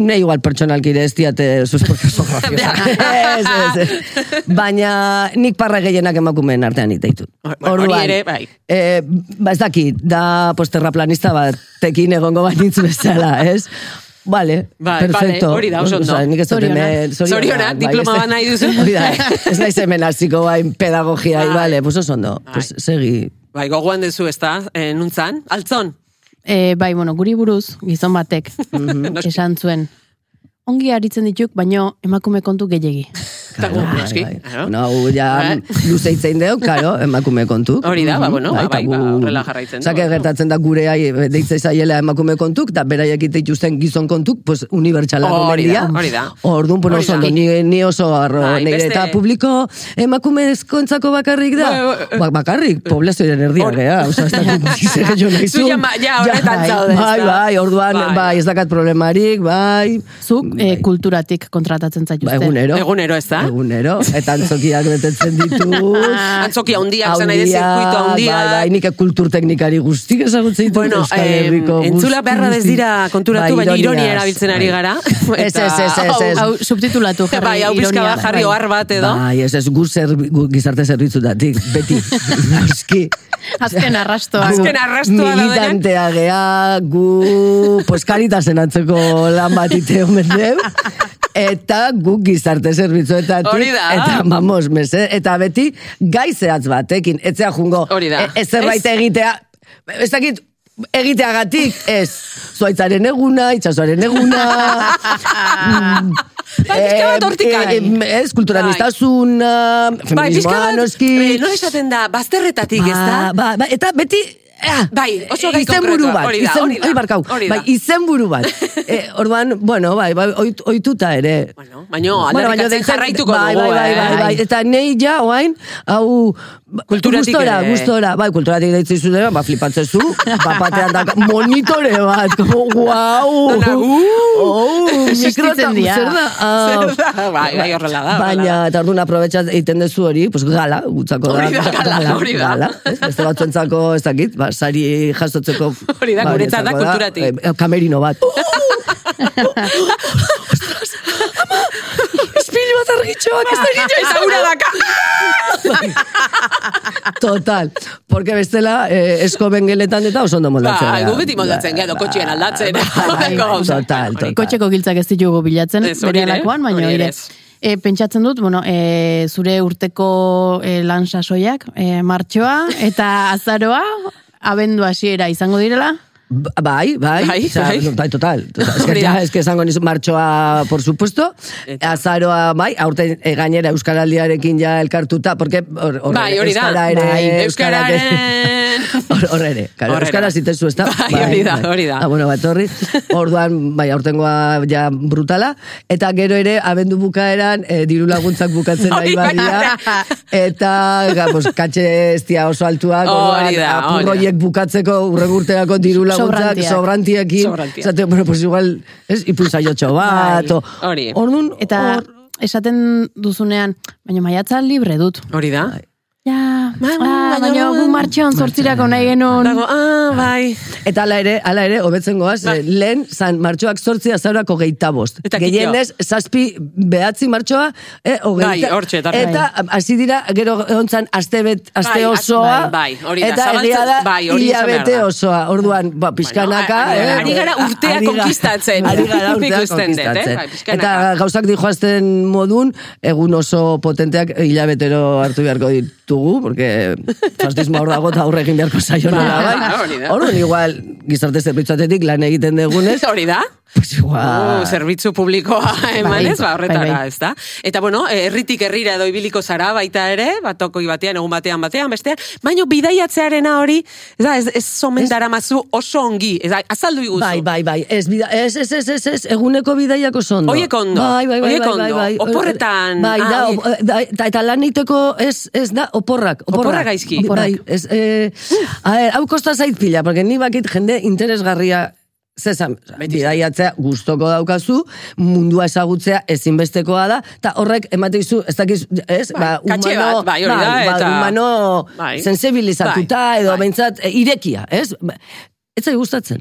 ne igual pertsonalkire ez diate sus propios graciosa. ez, ez, ez. Baina nik parra gehienak emakumeen artean iteitut.
Hor- hori ere, bai.
E, ba ez dakit, da pues, terraplanista batekin egongo banitz bezala, ez? Vale,
Bai, vale,
perfecto.
hori da, oso ondo.
Osea, nik ez dut
Zorionak.
hemen-
Zorionak,
bai,
diploma
ez-
bat nahi duzu.
Hori da, ez naiz hemen hasiko bain pedagogia,
Bai.
bai. bale, pues oso ondo,
Bai.
pues segi.
bai, gogoan duzu, ez da, e, nuntzan, altzon,
Eh, bai, bueno, guri buruz, gizon
Mhm.
batek, esan zuen. Ongi aritzen dituk, baino emakume kontu gehiegi.
Eta gu, noski, claro.
No, bai, hau ja
Bai.
luzeitzein deu, karo, emakume kontu.
Hori da, ba, bueno, ba,
eta
bai, ba, horrela jarraitzen du,
Osea, que
ba, bueno.
gertatzen da gure ai, deitzei zaiela emakume kontuk, eta beraiek ite dituzten gizon kontuk, pues, unibertsala
Hori da,
gomendia.
hori da.
Orduan, pues,
Hori
oso
da.
ondo, ni, ni oso arro,
Bai,
nire,
beste-
eta publiko emakumezkontzako bakarrik da.
Bai, bai,
Ba, bakarrik, poblazioaren erdia,
Hor-
gea, oza, ez dakit gizera jo nahi
Zu ja ma- ja horretan
bai,
zaude,
Bai,
ezta?
bai, orduan,
Bai.
bai, ez dakat problemarik, bai.
Zuk eh, kulturatik kontratatzen
Ba,
zaituzte.
egunero.
Egunero, ez da?
Egunero, eta antzokiak betetzen ditu.
Antzoki handiak, zan nahi zirkuito handiak.
Bai, bai, nik kulturteknikari guztik ezagutzen ditut.
Bueno,
Euskal
em,
Herriko guzti,
entzula beharra ez
guzti.
dira konturatu, baina ironia erabiltzen ari
bai.
gara.
Ez, ez, ez, ez, ez.
Hau, subtitulatu jarri.
Bai, hau pizka
ironia,
bat jarri
bai.
ohar bat edo.
Bai, ez ez, gu, zerbi, gu gizarte zerbitzutatik, beti, noski.
Azken arrastoa.
Gu
Azken arrastoa da
Militantea gea, gu, pues karitasen atzeko lan bat ite omen deu. Eta gu gizarte zerbitzuetatik.
Hori da.
Eta, vamos, meze, eta beti gai zehatz batekin. Etzea jungo,
Hori da.
e- ez zerbait
Ez.
egitea, ez dakit, egiteagatik, ez. Zuaitzaren eguna, itxasoaren eguna,
Bai, pixka bat
Eh,
hortik
eh,
ari.
eh, Ez, kultura
Bai.
aniztasuna,
Bai, pixka
feminismoa,
bat,
noski.
eh, nola esaten da, bazterretatik, ez da?
Ba, ba, ba, eta beti... Ah,
Bai, oso gai
izenburu
konkretua,
bat,
hori da, hori da,
oi, barkau,
hori da.
bai, izenburu bat. Eh, orduan, bueno, bai, bai, oit- ohituta ere.
Bueno, baino, aldarrikatzen
deitzen-
jarraituko
bai,
dugu,
bai, bai, bai,
eh?
bai, eta nei ja, oain, hau, ba,
Kulturatik
gustora,
ere.
gustora, bai, kulturatik deitzen zu dela, ba, flipatzen zu, ba, batean da, monitore bat, como, guau,
Dana, uh!
oh, mikrota,
Existitzen dira.
zer da, hau.
Zer da? Bai, bai, horrela da, horrela
Baina,
da.
eta orduan aprobetxat egiten duzu hori, pues, gala, gutzako
Hori da, gala, hori da.
ez? Beste batzuentzako, ez dakit, ba, sari jasotzeko...
Hori da,
ba,
guretzat da
horientzako
kulturatik. Uh,
eh, kamerino bat. Espil bat argitxoak, ez dakit jo
Eta hura daka!
Total, porque bestela eh, esko bengeletan eta oso ondo moldatzen.
Ba,
gara.
gu beti moldatzen gara,
Ba,
kotxean aldatzen,
ba,
horrelako
bai,
gauzak.
Total, total.
Kotxeko giltzak ez ditugu bilatzen,
Ez, hori
bere
ere,
alakoan, baina
hori ere
ere.
ez.
E, pentsatzen dut, bueno, e, zure urteko e, lan sasoiak, e, martxoa eta azaroa, abendu hasiera izango direla.
Ba- Bai, bai,
Bai,
osea,
bai.
no, bai, total. total. Es
Hori
que,
da.
ja, es que esango nizu martxoa, por supuesto,
Eta.
azaroa, bai, aurten e, gainera Euskaraldiarekin ja elkartuta, porque hor, hor
Bai, hori da.
Euskara ere,
Bai,
euskara ere-
euskararen-
Hor- Hor ere, claro,
Hor ere.
Euskara zitezu ez da.
Bai, hori da, hori da.
Ah, bueno, bat horri. Orduan, bai, aurtengoa ja brutala, eta gero ere, abendu bukaeran, eh, diru laguntzak bukatzen
Hori
ari badira,
bakarra.
eta, ga, pues, katxe eztia oso altuak,
Hori
orduan,
da, hori da.
apurroiek bukatzeko urregurterako diru laguntzak
Sobrantiak.
sobrantiekin.
Sobrantiak.
Zate, bueno, pues igual, ez, ipuzaiotxo bat, o...
hori.
Orduan,
Eta
hor-
esaten duzunean, baina maiatza libre dut.
Hori da?
Ja,
Ba,
ah,
baina-
baina gu martxoan sortzirako nahi genuen.
Dago, ah, bai.
Eta ala ere, ala ere, hobetzen goaz,
Ba.
eh, lehen, zan, martxoak sortzi azarako geita bost.
Eta kitxoa.
Gehienez, zazpi behatzi martxoa, eh, hogeita.
Bai, hortxe, tartean.
Eta, hasi dira, gero egontzan, aste bet, aste
Bai, az-
osoa.
bai, bai, hori da,
Eta
zabaltzen-
egia da,
bai, hori izan behar
hilabete
da.
osoa. Orduan, ba, pixkanaka.
Bueno,
eh,
ari gara urtea
ari gara-
konkistatzen.
Ari gara urtea
Ikusten dut, eh?
konkistatzen.
Bai, pixkanaka.
Eta gauzak dijoazten modun, egun oso potenteak hilabetero hartu beharko ditugu, porque fastismo hor dago eta aurre egin beharko zaio nola
Ba,
bai.
hori da.
Orduan igual, gizarte zerbitzuatetik lan egiten degunez,
Hori da?
pues igual.
Uh, zerbitzu publikoa emanez, ba,
bai,
horretara,
bai.
ez da? Eta, bueno, eh, herritik herrira edo ibiliko zara baita ere, batokoi batean, egun batean, batean, bestean, baino bidaiatzearena hori, ez da, ez, ez somen daramazu oso ongi, ez da, azaldu iguzu.
Bai, bai, bai, ez, bida, ez, ez, ez, ez, ez, eguneko bidaiak oso ondo.
Horiek ondo,
Bai, bai, bai,
horiek
bai, bai,
ondo.
bai.
Oporretan,
Bai,
ah,
da,
horiek.
op- da, eta, eta lan egiteko ez, ez da, oporrak. Oporrak,
Oporrak gaizki.
Bai,
Oporrak.
ez, eh, a ver, hau kosta zait pila, porque ni bakit jende interesgarria zezan, bidaiatzea gustoko daukazu, mundua ezagutzea ezinbestekoa da, eta horrek emateizu, ez dakiz, ez, ba,
katxe
humano,
bat, bai, hori da,
ba,
eta-
humano
Bai.
sensibilizatuta,
Bai,
edo
bai.
behintzat, eh, irekia, ez? Ba, Ez zai gustatzen.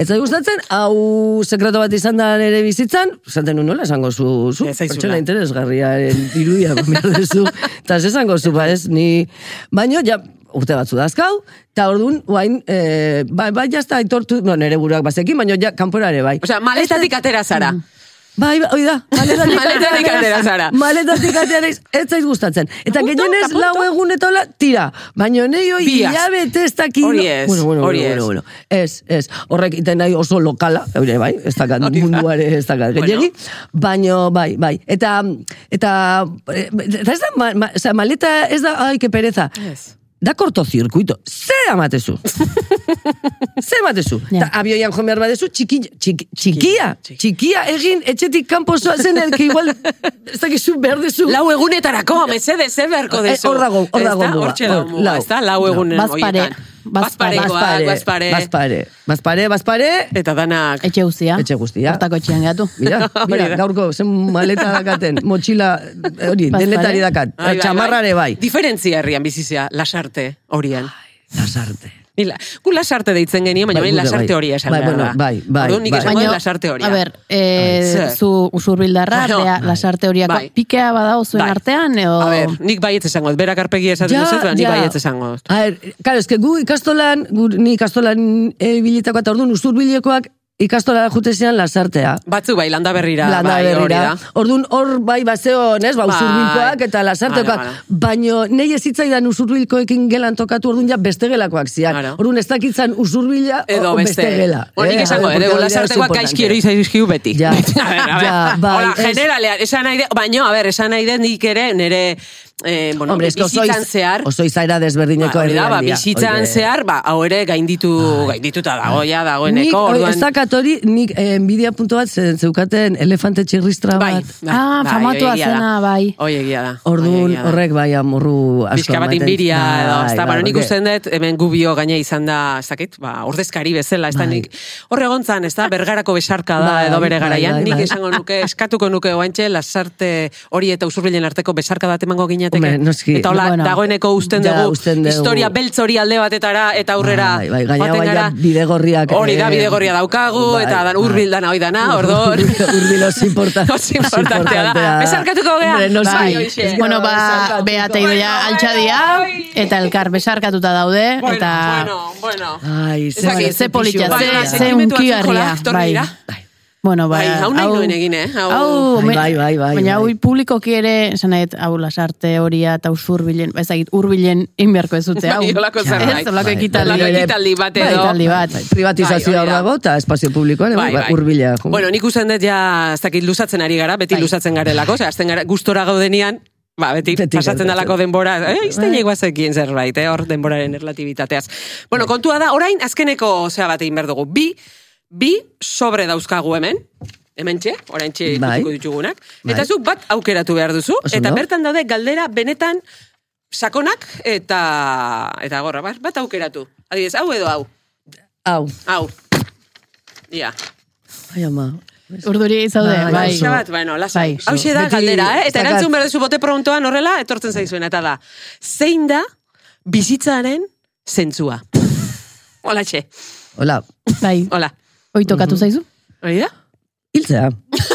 Ez zai gustatzen, hau sekreto bat izan da nere bizitzan, esaten nun nola esango zu, zu
Ez zaizula.
pertsona interesgarriaren irudia behar duzu, eta ez esango zu, ba ez, ni... Baina, ja, urte batzu dazkau, eta orduan, guain, eh, bai, bai, jazta aitortu, no, nere buruak bazekin, baina ja, kanporare bai.
O sea, maletatik atera zara.
Bai, bai, hoi da, maletatik
Maletatik atera zara.
Maletatik atera ez, ez zaiz gustatzen. Eta
Punto,
gehienez
eta
lau
punto.
egun eta hola, tira. Baina nei hoi
Biaz.
hilabete ez dakit.
Hori ez,
Bueno, bueno,
hori
bueno,
ez.
bueno, bueno. Ez, ez. Horrek iten nahi oso lokala, hori bai, ez dakat
Hori da.
munduare ez dakat
Bueno.
gehiagi. Baina, bai, bai. Eta, eta, eh, eta ez da, ma, ma, oza, maleta ez da, ai, que pereza.
Ez.
Da kortozirkuito. Zer amatezu? Zer batezu?
Ja.
Ta abioian joan behar badezu, txiki, txiki, txikia,
Txiki.
txikia egin etxetik kanpo zoazen elke igual, ez dakizu behar dezu.
Lau egunetarako, mesedez, ze beharko
Eh,
dezu.
hor dago, hor
Ez da,
dago ordua.
Hortxe dago,
Hor,
muga,
lau.
ez da, lau
No,
egunen
bazpare,
horietan.
bazpare,
Bazparekoak, eh, bazpare.
Ba, bazpare, bazpare, bazpare,
Eta danak,
Etxe guztia.
Etxe guztia.
Hortako etxean gatu.
Mira, mira,
Hori da.
gaurko, zen maleta dakaten, motxila, eh, hori,
Bazpare.
denetari dakat,
Ai, bai,
txamarrare bai.
Diferentzia herrian bizizia, lasarte horian.
Lasarte.
Nila, gu lasarte deitzen genien, baina
Bai,
bai,
gure,
lasarte
bai.
hori esan
Bai,
behar
bueno,
da.
bai, bai,
Orduan nik
bai.
esango dut lasarte horia. Bai.
a ber, e,
Zer?
zu usurbildarra,
Bueno,
rea- lasarte horiako
bai.
pikea badao zuen
Bai.
artean, edo...
A ber, nik baietz esango dut, berak arpegi esaten
Ja,
duzut, baina nik
ja.
baietz esango dut.
A ver, claro, eske gu ikastolan, gu, ni ikastolan e, bilitakoa eta orduan usturbilekoak ikastola jutezian lasartea.
Batzu bai, landa berrira,
Landa
bai, hori
berrira.
da.
Orduan hor bai bazeon, ez, ba,
Bai.
usurbilkoak eta lasartekoak.
Ara, ara.
Baino, nei ez hitzaidan usurbilkoekin gelan tokatu, orduan ja beste gelakoak zian.
Ara.
Orduan ez dakitzan usurbila
Edo
o
beste.
gela.
Bueno, nik
Eh,
esango,
a ver,
ere,
porque hori da oso
lasartekoak
importante.
gaizki ero izaizkigu beti.
Ja.
a ber, a ber.
Ja, bai,
Hola,
ez.
generalean, esan nahi de, baina, a ber, esan nahi de nik ere, nire, eh, bueno,
Hombre, eske oso,
bizitzan
iz,
zehar,
oso izaera desberdineko
Ba, hori da, ba,
herrialdia.
bizitzan
Oide. Bai.
zehar, ba, hau ere gainditu, gaindituta dagoia,
Nik,
dagoeneko,
orduan...
orduan...
ez dakat hori, nik eh, enbidia puntu bat ze- zeukaten elefante txirristra
Bai,
bat.
bai,
Ah,
bai,
famatua
hori egia da.
zena, bai.
Hori egia da. hori
Orduan
egia da.
horrek bai amorru asko
Bizka bat
ematen.
inbiria, edo,
Bai,
ez da,
bai,
baina nik
porque-
usten dut, hemen gubio gaina izan da, ez dakit, ba, ordezkari bezala, ez da,
Bai.
nik, horre gontzan, ez da, bergarako besarka da,
Bai,
edo bere
bai,
garaian,
bai,
nik
bai.
esango nuke, eskatuko nuke oantxe, lasarte hori eta usurbilen arteko besarka bat emango ginateke.
Hombre, noski.
eta hola,
Bueno.
dagoeneko usten
Ja,
dugu,
usten dugu.
historia beltz hori alde batetara, eta aurrera,
Bai, bai, gaina
joaten
bai,
gara.
ja bidegorriak,
Hori da,
eh,
bidegorria daukagu,
bai,
eta dan,
bai.
urbil dana, hoi dana, Ah, orduan.
Urbil oso importan-
Oso importantea da. Besarkatuko gea?
Hombre, noski.
Bai,
Bai,
hoxe.
bueno, ba,
Besarkatuko.
beate idoia
Bueno,
altxadia,
bueno,
eta elkar besarkatuta daude,
Bueno,
eta...
bueno, bueno.
Ai,
Ez dakit,
ze politia,
Bai,
ze,
bai,
ze
sentimendu
hunkigarria,
atzeko
bai.
dira.
Bueno, ba,
Bai, hau nahi nuen egin, eh? Hau-
Hau,
Bai,
me-
bai, bai, bai,
Baina hau
bai.
publikoki ere, esan nahi, dut, hau lasarte horia eta usur bilen, ez dakit, urbilen inberko ez dute, hau.
Bai, holako zerbait.
Ez, holako
Bai,
ekitaldi.
holako ekitaldi bat edo.
Bai, ekitaldi bat.
Bai, privatizazioa
Bai,
hor
hori da.
dago eta espazio publikoan, bai, bai. urbila. jo.
Bueno, nik usten dut ja, ez dakit luzatzen ari gara, beti
Bai.
luzatzen garelako, osea, azten gara, gustora gaudenian, Ba, beti,
Beti
pasatzen
gertatzen. Bai.
dalako denbora, eh, izten eguazekin zerbait, eh, hor denboraren erlatibitateaz.
Bai.
Bueno, kontua da, orain azkeneko zea bat egin behar dugu. Bi, bi sobre dauzkagu hemen, hemen txe, orain txe
Bai.
ikusiko ditugunak.
Bai.
Eta zuk bat aukeratu behar duzu,
Oso
eta
ondo.
bertan daude galdera benetan sakonak eta eta gorra, bat, bat aukeratu. Adibidez, hau edo hau,
Au,
hau. Ia.
ai ama.
Urduri zaude,
Bai,
bai.
Pixka bat, bueno, lasai.
Bai.
Hauxe da
Beti
galdera, eh? Eta
ez
erantzun
dakat-
behar duzu bote prontoan horrela, etortzen zaizuen, eta da, zein da bizitzaren zentzua? Hola, txe.
Hola,
Bai,
Hola.
hoi tokatu zaizu?
Hori da?
hiltzea.
Ba.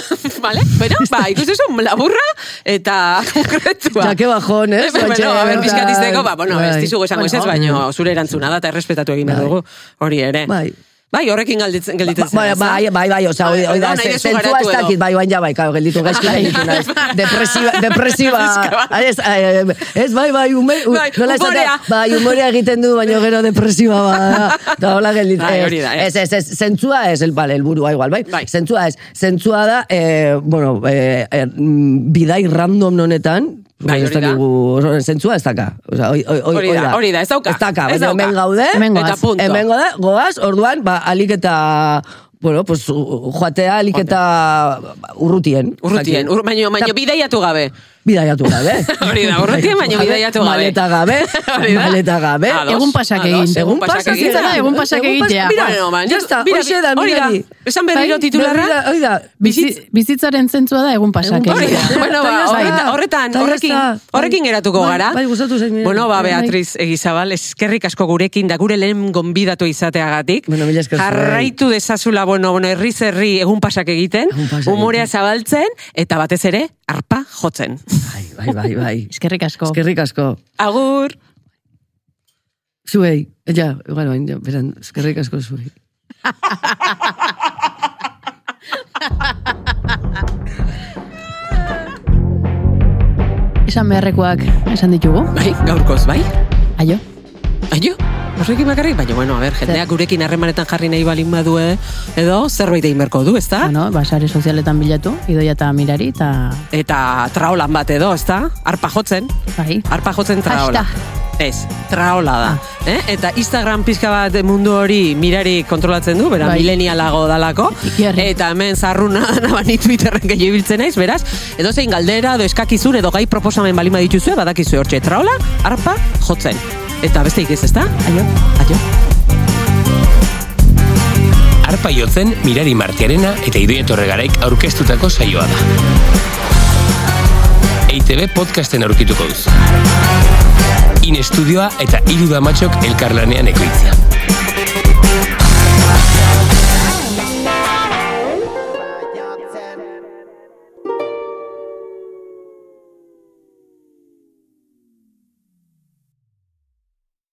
Vale, bueno, ba, ikustezu, laburra eta konkretua.
Ja, que bajon, ez?
Eh, bueno, a ber,
Eta-
pizkat izteko, ba, bueno, ez
Bai.
dizugu esango
Bueno.
ez, baino zure erantzuna da, eta errespetatu egin behar
Bai.
dugu, hori ere.
Bai.
Bai, horrekin galditzen, gelditzen
Bai,
zara,
bai,
ezta?
bai, bai, oza,
Bai,
hoi hoi da,
orduan nahi duzu
zentzua
garatu
ez
edo.
dakit, bai, baina bai, claro, gelditu gaizki da ditu naiz. Depresiba, depresiba,
Pizka bat.
ez, eh, ez, bai, bai, ume, u-
Bai,
nola esatea?
umorea.
bai, umorea egiten du, baina gero depresiba, ba, eta hola gelditu,
Bai, hori da, eh.
ez, ez, ez, zentzua ez, el, bale, el burua igual, bai,
Bai.
zentzua ez, zentzua da, eh, bueno, eh, er, mm, bidai random honetan,
Bai,
ez
hori da.
dakigu, zentzua ez daka, oza, hoi, hoi, hoi,
Hori da, hori da, ez dauka.
ez daka,
Ez
baina
dauka.
hemen gaude,
Hemen
Eta
goaz.
punto.
Hemengo da, goaz, orduan, ba, alik eta, bueno, pues, u- joatea, alik eta urrutien.
Urrutien,
Jakin.
ur, baino, baino bideiatu gabe.
Bidaiatu gabe.
Hori da, urrutien, baino bidaiatu gabe.
Bai, Maleta gabe,
Hori da.
maleta gabe.
Ados,
Egun pasak
ados,
egin.
Egun
Egun
pasak
pasak
egin.
Bizitza da, egun pasak
Egun pasak-
egitea.
Mira,
Bueno, ba,
ya está,
bira,
hoxe da,
hori da.
mirari.
Esan berriro
Bai,
titularra.
berriro da, Hoi da,
Bizitz- bizitzaren zentzua da egun pasak. eh? Bai.
Egun
Hori da.
egitea.
Bueno,
Eta
ba,
ya está.
horretan, horretan,
Eta ya
horrekin,
está.
horrekin geratuko
Bai,
gara.
bai, gustatu zait nire.
Bueno, ba,
Bai.
Beatriz Egizabal, eskerrik asko gurekin da gure lehen gonbidatu izateagatik.
Bueno, mila esker bai. zuei.
Jarraitu dezazula, bueno, bueno, herriz herri egun pasak egiten,
Egun pasak egiten.
umorea zabaltzen, eta batez ere, arpa jotzen.
Bai, bai, bai, bai.
Eskerrik asko.
Eskerrik asko.
Agur!
Zuei, ja, igual, bain, ja, beran, eskerrik asko zuei.
esan beharrekoak esan ditugu.
Bai, gaurkoz, bai?
Aio.
Aio, horrekin bakarrik, baina, bueno, a ber, jendeak gurekin harremanetan jarri nahi balin badue, edo, zerbait egin beharko du, ezta?
Bueno, basare sozialetan bilatu, idoia eta mirari, eta
Eta traolan bat edo, ezta? Arpa jotzen,
bai.
arpa jotzen traola.
Hashtag.
Ez, traola
Ah.
da. Eh? Eta Instagram pizka bat mundu hori mirari kontrolatzen du, bera
Bai.
milenialago dalako.
Jarri.
Eta hemen zarruna nabani Twitterren gehi ibiltzen naiz, beraz, edo zein galdera, edo eskakizun, edo gai proposamen balima dituzue, badakizue hortxe traola, arpa jotzen. Eta besteik ez, ezta?
Aio.
Aio.
Arpa jotzen Mirari Martiarena eta Idoia Torregaraik aurkeztutako saioa da. E EITB podcasten aurkituko duzu. In Estudioa eta Iru Damatxok elkarlanean ekoitzia.